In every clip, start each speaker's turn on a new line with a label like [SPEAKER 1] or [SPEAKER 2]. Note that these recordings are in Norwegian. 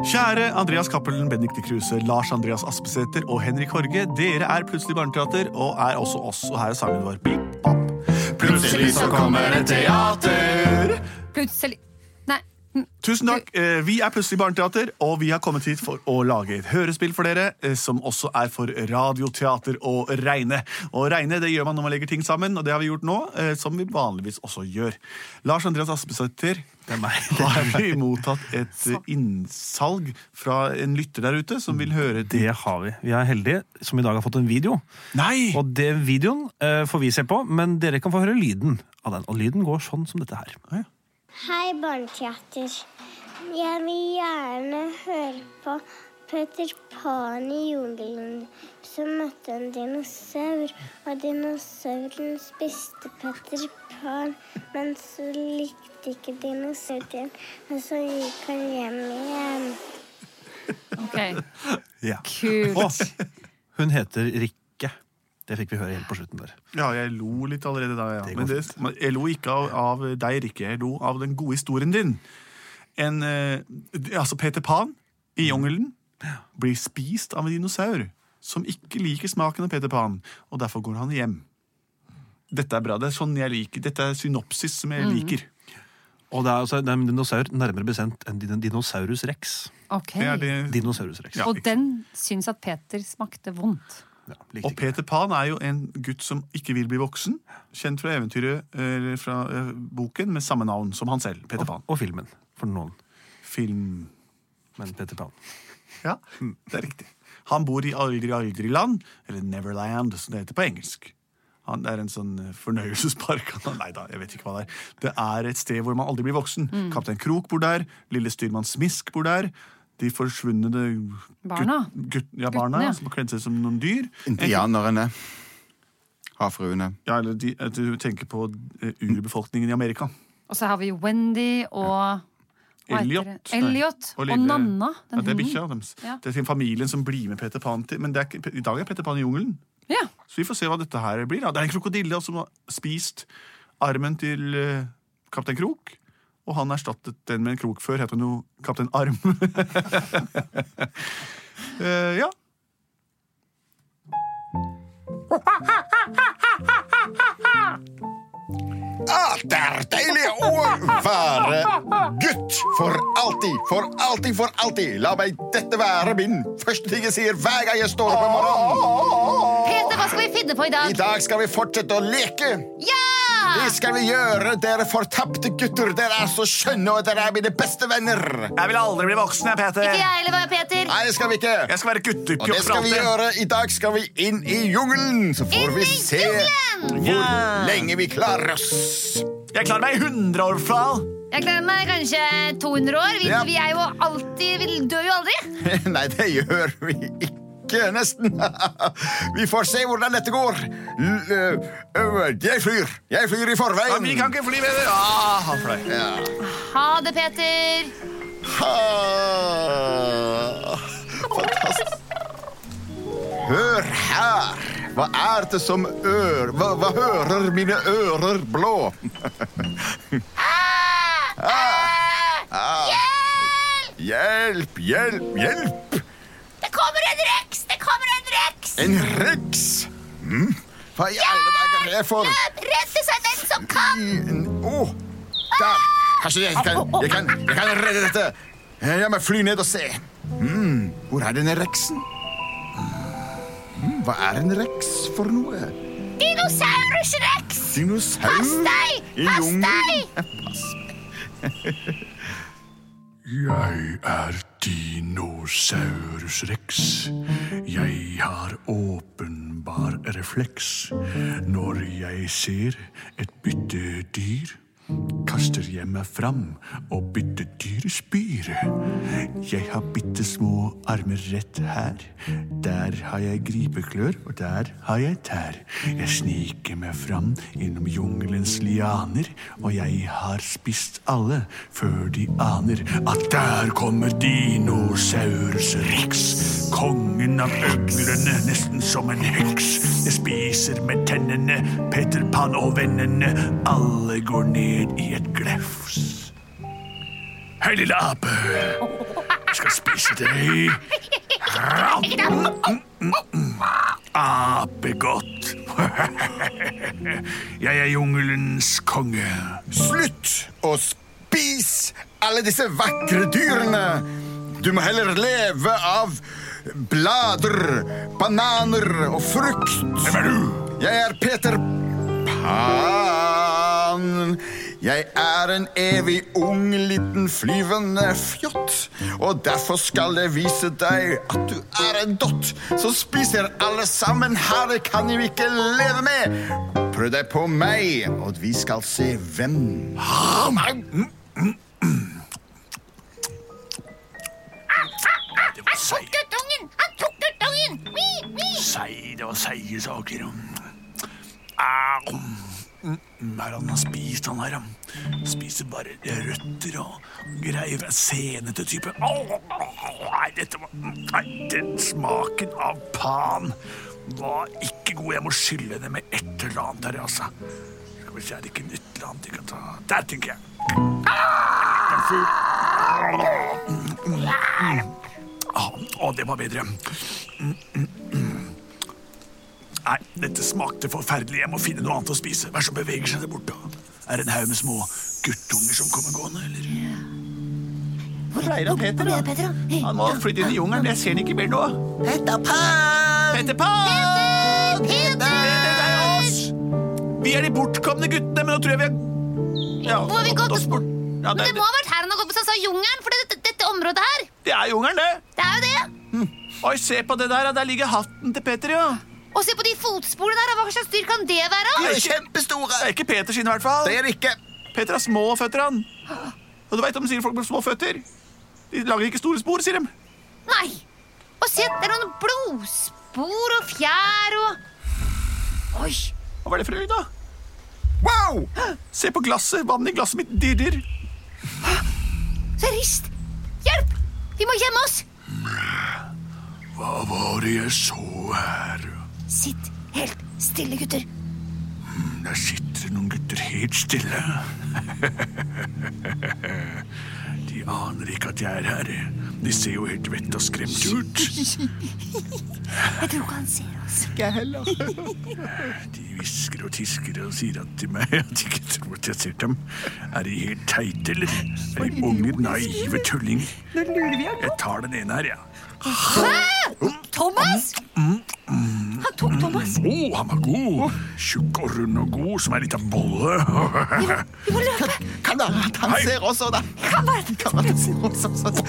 [SPEAKER 1] Kjære Andreas Cappelen, Benedicte Kruse, Lars Andreas Aspesæter og Henrik Horge. Dere er plutselig Barneteater, og er også oss. Og her er sangen vår. Bip, bap.
[SPEAKER 2] Plutselig så kommer det teater.
[SPEAKER 3] Plutselig Nei.
[SPEAKER 1] Tusen takk. Eh, Vi er Plutselig barneteater, og vi har kommet hit for å lage et hørespill for dere, eh, som også er for radioteater å regne. Og regne det gjør man når man legger ting sammen, og det har vi gjort nå, eh, som vi vanligvis også gjør. Lars Andreas Aspesæter, det er meg. Nå har vi mottatt et eh, innsalg fra en lytter der ute som vil høre til
[SPEAKER 4] Det har vi. Vi er heldige som i dag har fått en video.
[SPEAKER 1] Nei!
[SPEAKER 4] Og det videoen eh, får vi se på, men dere kan få høre lyden av den. Og lyden går sånn som dette her.
[SPEAKER 5] Hei, Barneteater. Jeg vil gjerne høre på Peter Pan i jungelen som møtte en dinosaur, og dinosauren spiste Peter Pan, men så likte ikke dinosauren, og så gikk han hjem igjen.
[SPEAKER 3] Ok,
[SPEAKER 1] Ja.
[SPEAKER 3] kult.
[SPEAKER 4] Og hun heter Rikke. Det fikk vi høre helt på slutten der.
[SPEAKER 1] ja, jeg lo litt allerede da, ja.
[SPEAKER 4] Det går
[SPEAKER 1] Men det, men jeg lo ikke av, av deg, Rikke. Jeg lo av den gode historien din. En, eh, altså Peter Pan i jungelen blir spist av en dinosaur som ikke liker smaken av Peter Pan, og derfor går han hjem. Dette er bra. Det er sånn jeg liker. Dette er synopsis som jeg liker.
[SPEAKER 4] Og det er altså det er en dinosaur, nærmere bestemt en din- dinosaurus rex.
[SPEAKER 3] Ok.
[SPEAKER 1] Det er det
[SPEAKER 4] Dinosaurus rex.
[SPEAKER 1] Ja.
[SPEAKER 3] Og den syns at Peter smakte vondt.
[SPEAKER 4] Ja, likte
[SPEAKER 1] Og
[SPEAKER 4] ikke det.
[SPEAKER 1] Peter Pan er jo en gutt som ikke vil bli voksen. Kjent fra eventyret, eller fra eh, boken med samme navn som han selv. Peter Pan.
[SPEAKER 4] Og filmen, for noen.
[SPEAKER 1] Film...
[SPEAKER 4] Men Peter Pan.
[SPEAKER 1] Ja, det er riktig. Han bor i aldri aldri land, eller Neverland, som det heter på engelsk. Han det er en sånn eh, fornøyelsespark. Han- Nei da, jeg vet ikke hva det er. Det er et sted hvor man aldri blir voksen.
[SPEAKER 3] Mm.
[SPEAKER 1] Kaptein Krok bor der, lille styrmann Smisk bor der. De forsvunne
[SPEAKER 3] Barna.
[SPEAKER 1] ja, barna
[SPEAKER 3] Guttene, ja.
[SPEAKER 1] som har kledd seg som noen dyr.
[SPEAKER 2] Indianerne. Havfruene.
[SPEAKER 1] Ja, eller de, at du tenker på eh, urbefolkningen i Amerika.
[SPEAKER 3] Og så har vi jo Wendy og hva heter
[SPEAKER 1] Elliot.
[SPEAKER 3] det?
[SPEAKER 1] Nei.
[SPEAKER 3] Elliot og,
[SPEAKER 1] lille-
[SPEAKER 3] Nanna.
[SPEAKER 1] Ja,
[SPEAKER 3] Den
[SPEAKER 1] det er
[SPEAKER 3] hunden.
[SPEAKER 1] bikkja deres.
[SPEAKER 3] Ja.
[SPEAKER 1] Det er den familien som blir med Peter Pan til Men det er, ikke- i dag er Peter Pan i jungelen.
[SPEAKER 3] Ja.
[SPEAKER 1] Så vi får se hva dette her blir. Da. Det er en krokodille som har spist armen til eh, kaptein Krok. Og han erstattet den med en krok før. Het han jo Kaptein Arm? Eh, ja.
[SPEAKER 2] Ah, det er deilig å være gutt for alltid, for alltid, for alltid. La meg dette være min første ting jeg sier hver gang jeg står opp om morgenen.
[SPEAKER 6] Peter, hva skal vi finne på i
[SPEAKER 2] I
[SPEAKER 6] dag?
[SPEAKER 2] dag skal vi fortsette å leke.
[SPEAKER 6] Ja!
[SPEAKER 2] Det skal vi gjøre, dere fortapte gutter. Dere er så skjønne, og dere er mine beste venner.
[SPEAKER 1] Jeg vil aldri bli voksen, jeg, Peter.
[SPEAKER 6] Ikke jeg heller, Peter.
[SPEAKER 2] Nei, det skal vi ikke.
[SPEAKER 1] Jeg skal være
[SPEAKER 2] Og det skal vi gjøre. I dag skal vi inn i jungelen. Så får
[SPEAKER 6] Inn
[SPEAKER 2] vi
[SPEAKER 6] i
[SPEAKER 2] se
[SPEAKER 6] jungelen!
[SPEAKER 2] hvor lenge vi klarer oss.
[SPEAKER 1] Jeg klarer meg i 100 år fra.
[SPEAKER 6] Jeg gleder meg kanskje 200 år. Vi,
[SPEAKER 2] Ja.
[SPEAKER 6] vi er jo alltid Vi dør jo aldri.
[SPEAKER 2] Nei, det gjør vi ikke, nesten. Vi får se hvordan dette går. L ø, jeg flyr. Jeg flyr i forveien.
[SPEAKER 1] Vi kan ikke fly med det. Ah, han fløy.
[SPEAKER 6] Ha det, Peter.
[SPEAKER 2] Ha. Fantastisk. Hør her. Hva er det som ør... Hva, hva hører mine ører blå?
[SPEAKER 6] Ah!
[SPEAKER 2] Ah!
[SPEAKER 6] Hjelp!
[SPEAKER 2] Hjelp, hjelp, hjelp!
[SPEAKER 6] Det kommer en reks! Det kommer en reks!
[SPEAKER 2] En reks! Mm. Hva i alle dager er det for Mm,
[SPEAKER 6] Løp! Redde seg den som kan!
[SPEAKER 2] Åh, der! Kanskje jeg kan, jeg, kan, jeg kan redde dette. Jeg må fly ned og se. Mm, hvor er denne reksen? Mm, hva er en reks for noe?
[SPEAKER 6] Dinosaurus reks!
[SPEAKER 2] Dinosaur
[SPEAKER 6] Pass deg!
[SPEAKER 2] i
[SPEAKER 6] Pass
[SPEAKER 2] jungelen?
[SPEAKER 6] deg!
[SPEAKER 7] Jeg er dinosaurus rex. Jeg har åpenbar refleks. Når jeg ser et byttedyr, kaster jeg meg fram, og byttedyret spyr.
[SPEAKER 1] Jeg har bitte små armer rett her. Der har jeg gripeklør, og der har jeg tær. Jeg sniker meg fram innom jungelens lianer, og jeg har spist alle før de aner at der kommer dinosaurus rex. Kongen av øglene, nesten som en heks. Jeg spiser med tennene, Peter Pan og vennene. Alle går ned i et glefs. Hei, lille ape. Jeg skal spise deg. Apegodt. Jeg er jungelens konge.
[SPEAKER 2] Slutt å spise alle disse vakre dyrene! Du må heller leve av blader, bananer og frukt.
[SPEAKER 1] Hvem er du?
[SPEAKER 2] Jeg er Peter Pan. Jeg er en evig ung, liten flyvende fjott. Og derfor skal jeg vise deg at du er en dott som spiser alle sammen. Her kan vi ikke leve med. Prøv deg på meg, og vi skal se hvem
[SPEAKER 1] Det var seig,
[SPEAKER 6] Guttungen! Han tok guttungen! Vi, vi.
[SPEAKER 1] seig, det var seige saker. Ah, Au. mm, Hva er det han har spist, han her? Han Spiser bare røtter og greier. Senete type. Au. Nei, dette var mm, Nei, den smaken av pan var ikke god. Jeg må skylle det med et eller annet her, altså. Skal vi se, er det ikke et eller annet jeg kan ta Der, tenker jeg. En fugl. Ah, Å, det var bedre. Mm, mm, mm. Nei, dette smakte forferdelig. Jeg må finne noe annet å spise. Hva er det som beveger seg der borte? Er det en haug med små guttunger som kommer gående, eller?
[SPEAKER 8] Hvor er han Peter, da? Han må flytte inn i jungelen. Jeg ser han ikke mer nå.
[SPEAKER 9] Petter Pan!
[SPEAKER 8] Peter Pan! Peter! Det er oss! Vi er de bortkomne guttene, men nå tror jeg vi er ja,
[SPEAKER 6] Nå har vi gått oss bort.
[SPEAKER 8] Ja,
[SPEAKER 6] Men
[SPEAKER 8] det,
[SPEAKER 6] det må ha vært her han har gått på sånn som jungelen, for dette, dette området her,
[SPEAKER 8] det er jungelen, det.
[SPEAKER 6] det er jo det.
[SPEAKER 8] Oi, se på det der. ja. Der ligger hatten til Peter, ja.
[SPEAKER 6] Og se på de fotsporene der, hva slags dyr kan det være?
[SPEAKER 8] Det er ikke-
[SPEAKER 2] Kjempestore!
[SPEAKER 8] Det er ikke Peter sin, i hvert fall.
[SPEAKER 2] Det er ikke
[SPEAKER 8] Peter har små føtter, han. Og du veit om de sier folk med små føtter? De lager ikke store spor, sier de.
[SPEAKER 6] Nei. Og se, det er noen blodspor og fjær og Oi.
[SPEAKER 8] Hva var det for lyd, da?
[SPEAKER 2] Wow!
[SPEAKER 8] Se på glasset. Vannet i glasset mitt dirrer.
[SPEAKER 6] Se, rist. Hjelp! Vi må gjemme oss.
[SPEAKER 1] Hva var det jeg så her?
[SPEAKER 6] Sitt helt stille, gutter.
[SPEAKER 1] Hmm, Der sitter noen gutter helt stille. De aner ikke at jeg er her. De ser jo helt vett og skremt ut.
[SPEAKER 6] Jeg tror ikke han ser oss.
[SPEAKER 1] De hvisker og tisker og sier at til meg at de ikke tror at jeg ser dem. Er de helt teite, eller? Er de unge, naive tullinger? Jeg tar den ene her, jeg. Ja.
[SPEAKER 6] Thomas! Han tok Thomas.
[SPEAKER 1] Å, han var god! Tjukk og rund og god, som ei lita bolle.
[SPEAKER 6] Vi må løpe.
[SPEAKER 2] Kan da, han
[SPEAKER 1] Hei.
[SPEAKER 2] ser også, da.
[SPEAKER 6] Kan være det.
[SPEAKER 2] Kan han ser oss også.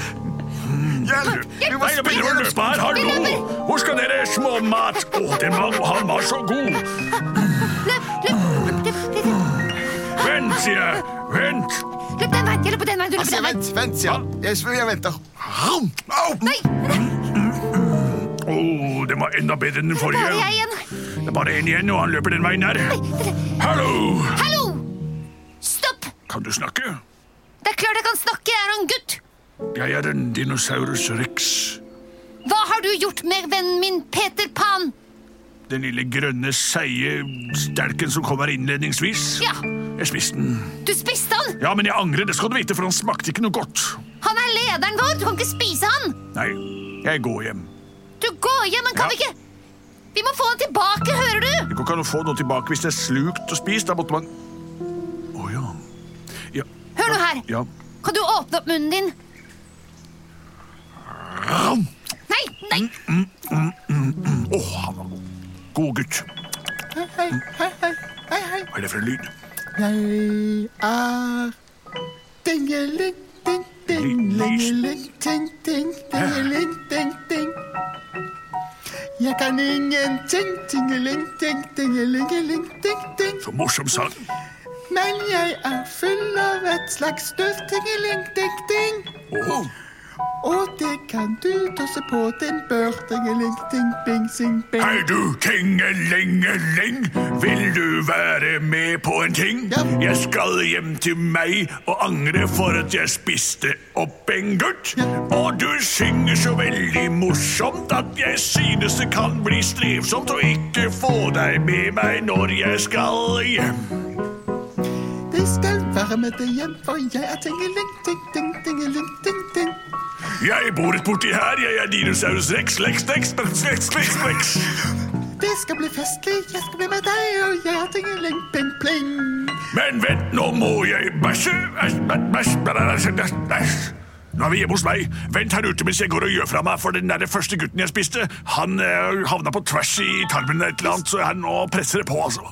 [SPEAKER 1] Hjelp!
[SPEAKER 2] Vi må
[SPEAKER 1] Nei, nå begynner å løpe her, hallo! Hvor skal dere, småmat? Å, den var, han var så god!
[SPEAKER 6] Løp, løp, løp, løp, løp, løp.
[SPEAKER 1] Vent, sier jeg! Vent!
[SPEAKER 6] løp den veien. Jeg løper den veien, du løper
[SPEAKER 2] Se,
[SPEAKER 6] den veien.
[SPEAKER 2] vent, vent, sier han. Jeg, jeg venter.
[SPEAKER 1] Au! Å,
[SPEAKER 6] Nei, der
[SPEAKER 1] den var enda bedre enn den
[SPEAKER 6] er jeg
[SPEAKER 1] forrige.
[SPEAKER 6] igjen.
[SPEAKER 1] Det er bare én igjen, og han løper den veien der. Hallo!
[SPEAKER 6] Hallo! Stopp!
[SPEAKER 1] Kan du snakke?
[SPEAKER 6] Det er klart jeg kan snakke. Jeg er en gutt.
[SPEAKER 1] Jeg er en dinosaurus rex.
[SPEAKER 6] Hva har du gjort med vennen min Peter Pan?
[SPEAKER 1] Den lille grønne, seige stelken som kom her innledningsvis.
[SPEAKER 6] Ja.
[SPEAKER 1] Jeg spiste den.
[SPEAKER 6] Du spiste han!
[SPEAKER 1] Ja, men jeg angrer, det skal du vite, for han smakte ikke noe godt.
[SPEAKER 6] Han er lederen vår! Du kan ikke spise han!
[SPEAKER 1] Nei, jeg går hjem.
[SPEAKER 6] Du går hjem, men kan
[SPEAKER 1] Ja.
[SPEAKER 6] vi ikke Vi må få han tilbake, hører du?
[SPEAKER 1] Det går ikke an å få noe tilbake hvis det er slukt og spist. Da måtte man Å ja. Ja.
[SPEAKER 6] Hør nå her.
[SPEAKER 1] ja.
[SPEAKER 6] Kan du åpne opp munnen din? Nei, nei!
[SPEAKER 1] Å, han var god. God gutt. Hva er det for en lyd?
[SPEAKER 2] Jeg er Dingeling, ding, ding, lingeling, ting, ting, dingeling, ding, ding. Jeg kan ingenting, tingeling, ting, dingelingeling, ting, ting.
[SPEAKER 1] Så morsom sang.
[SPEAKER 2] Men jeg er full av et slags støv, tingeling, ding, ding.
[SPEAKER 1] Å,
[SPEAKER 8] Og det kan du tåse på den børtingeling, ting, bing, sing, bing.
[SPEAKER 1] Hei du, tingelingeling, vil du være med på en ting?
[SPEAKER 8] Ja.
[SPEAKER 1] Jeg skal hjem til meg og angre for at jeg spiste opp en gutt.
[SPEAKER 8] Ja.
[SPEAKER 1] Og du synger så veldig morsomt at jeg synes det kan bli strevsomt å ikke få deg med meg når jeg skal hjem.
[SPEAKER 8] Det skal være med deg hjem, for jeg er tingeling, ting, ting, tingeling, ting, ting.
[SPEAKER 1] Jeg bor rett borti her, jeg er dinosaurus rex, lex, lex, lex, lex, lex, lex.
[SPEAKER 8] Det skal bli festlig, jeg skal bli med deg, og jeg er tingeling, pling, pling.
[SPEAKER 1] Men vent, nå må jeg bæsje. Æsj, bæsj, bæsj, bæsj, bæsj, bæsj. Nå er vi hjemme hos meg. Vent her ute mens jeg går og gjør fra meg, for den der første gutten jeg spiste, han eh, havna på tvers i tarmen eller et eller annet, så her nå presser det på, altså.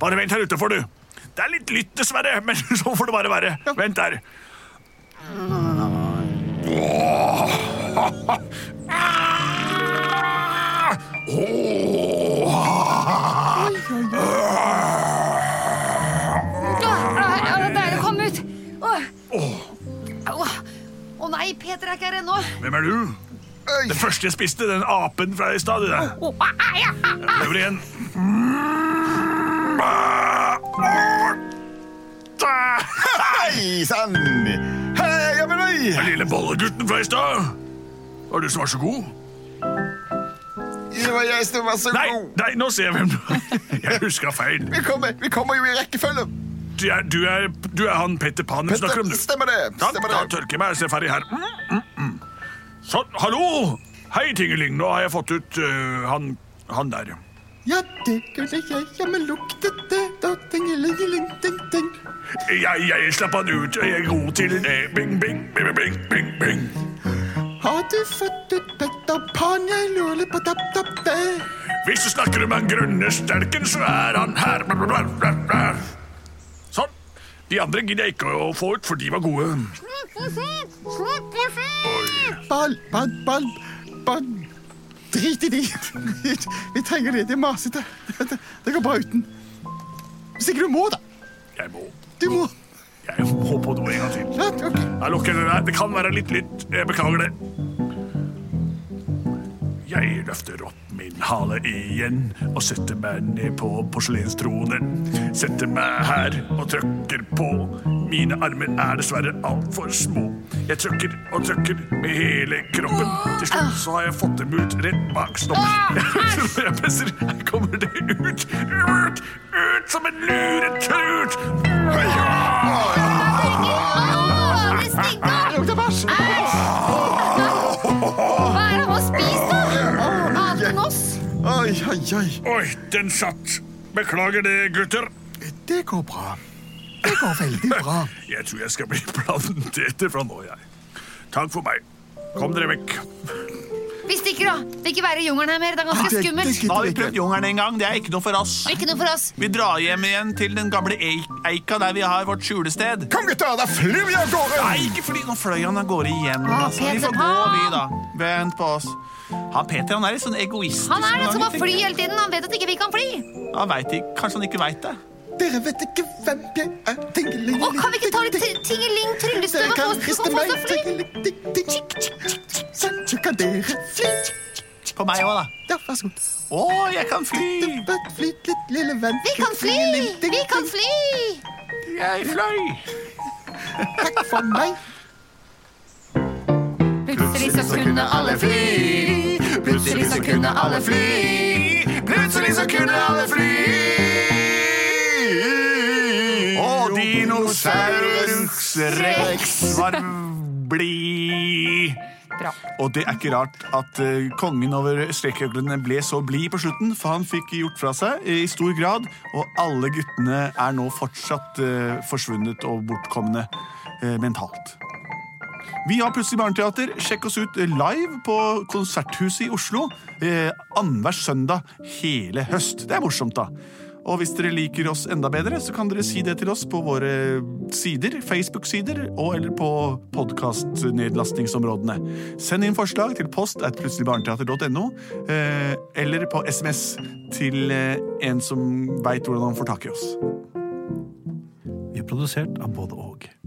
[SPEAKER 1] Bare vent her ute, får du. Det er litt lytt, dessverre, men så får det bare være. Vent der.
[SPEAKER 6] Deilig å komme ut. Åh. Åh. Å nei, Peter er ikke her ennå.
[SPEAKER 1] Hvem er du? Det første jeg spiste, den apen fra i stad. det der.
[SPEAKER 6] Åh, ai, ai, ai.
[SPEAKER 1] Prøver igjen. Den Hei sann! Hei, ja, men hei! Lille bollegutten fra i stad. Var det du som var så god?
[SPEAKER 8] Det var jeg som var så
[SPEAKER 1] Nei, nei, nå ser jeg hvem du er. Jeg huska feil.
[SPEAKER 8] Vi kommer, vi kommer jo i rekkefølge.
[SPEAKER 1] Du er, du er, du er han Petter Pan vi snakker om, du.
[SPEAKER 8] Stemmer det,
[SPEAKER 1] Da,
[SPEAKER 8] stemmer
[SPEAKER 1] da
[SPEAKER 8] det.
[SPEAKER 1] tørker jeg meg og ser ferdig her. Mm, mm, mm. Sånn, hallo! Hei, Tingeling. Nå har jeg fått ut øh, han, han der.
[SPEAKER 8] Ja, det kunne jeg, ja, men luktet det, da tingelingeling, ting, ting.
[SPEAKER 1] Jeg, jeg slapp han ut, og jeg er god til det. Bing, bing, bing, bing, bing, bing.
[SPEAKER 8] Har du fått ut Petter Pan, jeg lurer litt på tapp, tapp, det.
[SPEAKER 1] Hvis du snakker om han grønne sterken, så er han her. Bla, bla, bla, bla. Sånn. De andre gidder jeg ikke å få ut, for de var gode.
[SPEAKER 8] Ball, ball, ball, ball. Drit i de. Vi trenger de. De er masete. Det det går bra uten. Hvis ikke du må, da.
[SPEAKER 1] Jeg må,
[SPEAKER 8] Du må.
[SPEAKER 1] jeg må på do en gang til.
[SPEAKER 8] Ja, ok.
[SPEAKER 1] Da lukker jeg den her. Det kan være litt lytt. Jeg beklager det. Jeg løfter opp min hale igjen og setter meg ned på porselenstronen. Setter meg her og trykker på. Mine armer er dessverre altfor små. Jeg trykker og trykker med hele kroppen. Til slutt så har jeg fått dem ut rett bak snoppen. Når jeg presser, her kommer det ut. Ut! Ut som en luretrut!
[SPEAKER 6] Åh, det stinker.
[SPEAKER 8] Det lukter bæsj.
[SPEAKER 6] Hva er det han har spist, da? Annet enn oss?
[SPEAKER 8] Oi, oi, oi.
[SPEAKER 1] Oi, den satt. Beklager det, gutter.
[SPEAKER 8] Det går bra. Det går veldig bra.
[SPEAKER 1] Jeg tror jeg skal bli planteter fra nå, jeg. Takk for meg. Kom dere vekk.
[SPEAKER 6] Vi stikker, da. Vil ikke være i jungelen her mer. Det er ganske
[SPEAKER 8] Det- det
[SPEAKER 6] skummelt.
[SPEAKER 2] Da har vi
[SPEAKER 8] gidder
[SPEAKER 2] prøvd jungelen en gang. Det er ikke noe for oss.
[SPEAKER 6] Ikke noe for oss.
[SPEAKER 2] Vi drar hjem igjen til den gamle eik- eika der vi har vårt skjulested.
[SPEAKER 1] Kom, gutter, da flyr vi av gårde!
[SPEAKER 2] Nei, ikke fordi nå fløy han av gårde igjen.
[SPEAKER 6] Å,
[SPEAKER 2] Altså. Vi
[SPEAKER 6] Ah, Peter
[SPEAKER 2] får gå,
[SPEAKER 6] Pan!
[SPEAKER 2] vi, da. Vent på oss. Han Peter han er litt sånn egoistisk.
[SPEAKER 6] Han er
[SPEAKER 2] noen
[SPEAKER 6] den som
[SPEAKER 2] ganger,
[SPEAKER 6] har fly hele tiden. Han vet at ikke vi kan fly.
[SPEAKER 2] tenker jeg. Han vet ikke. Kanskje han ikke veit det.
[SPEAKER 8] Dere vet ikke hvem jeg er. Tingeling,
[SPEAKER 6] Å, kan vi ikke ta litt tri- tingeling tryllestøv
[SPEAKER 8] Dere
[SPEAKER 6] og
[SPEAKER 8] kan
[SPEAKER 6] få- få
[SPEAKER 8] riste
[SPEAKER 6] få oss
[SPEAKER 8] meg.
[SPEAKER 6] til å fly?
[SPEAKER 8] Tingeling, ting, ting. Sånn, så kan dere fly.
[SPEAKER 2] På meg òg, da.
[SPEAKER 8] Ja, vær så god.
[SPEAKER 2] Å, jeg kan fly!
[SPEAKER 8] Bare flyt litt, lille venn.
[SPEAKER 6] Vi kan fly!
[SPEAKER 8] Tingeling, ting,
[SPEAKER 6] Vi kan
[SPEAKER 8] ting.
[SPEAKER 6] fly!
[SPEAKER 2] Jeg fløy!
[SPEAKER 8] Takk for meg.
[SPEAKER 10] Plutselig så kunne alle fly. Plutselig så kunne alle fly.
[SPEAKER 1] Plutselig så kunne alle fly.
[SPEAKER 2] Og dinosaurus rex var blid.
[SPEAKER 10] Bra.
[SPEAKER 2] Og det er ikke rart at eh, kongen over strekkøglene ble så blid på slutten, for han fikk gjort fra seg eh, i stor grad, og alle guttene er nå fortsatt eh, forsvunnet og bortkomne eh, mentalt. Vi har Plutselig barneteater. Sjekk oss ut eh, live på Konserthuset i Oslo eh, annenhver søndag hele høst. Det er morsomt, da. Og hvis dere liker oss enda bedre, så kan dere si det til oss på våre sider, Facebook-sider og eller på podkastnedlastingsområdene. Send inn forslag til post at plutseligbarneteater.no, eh, eller på SMS til eh, en som veit hvordan han får tak i oss.
[SPEAKER 4] Vi er produsert av både og.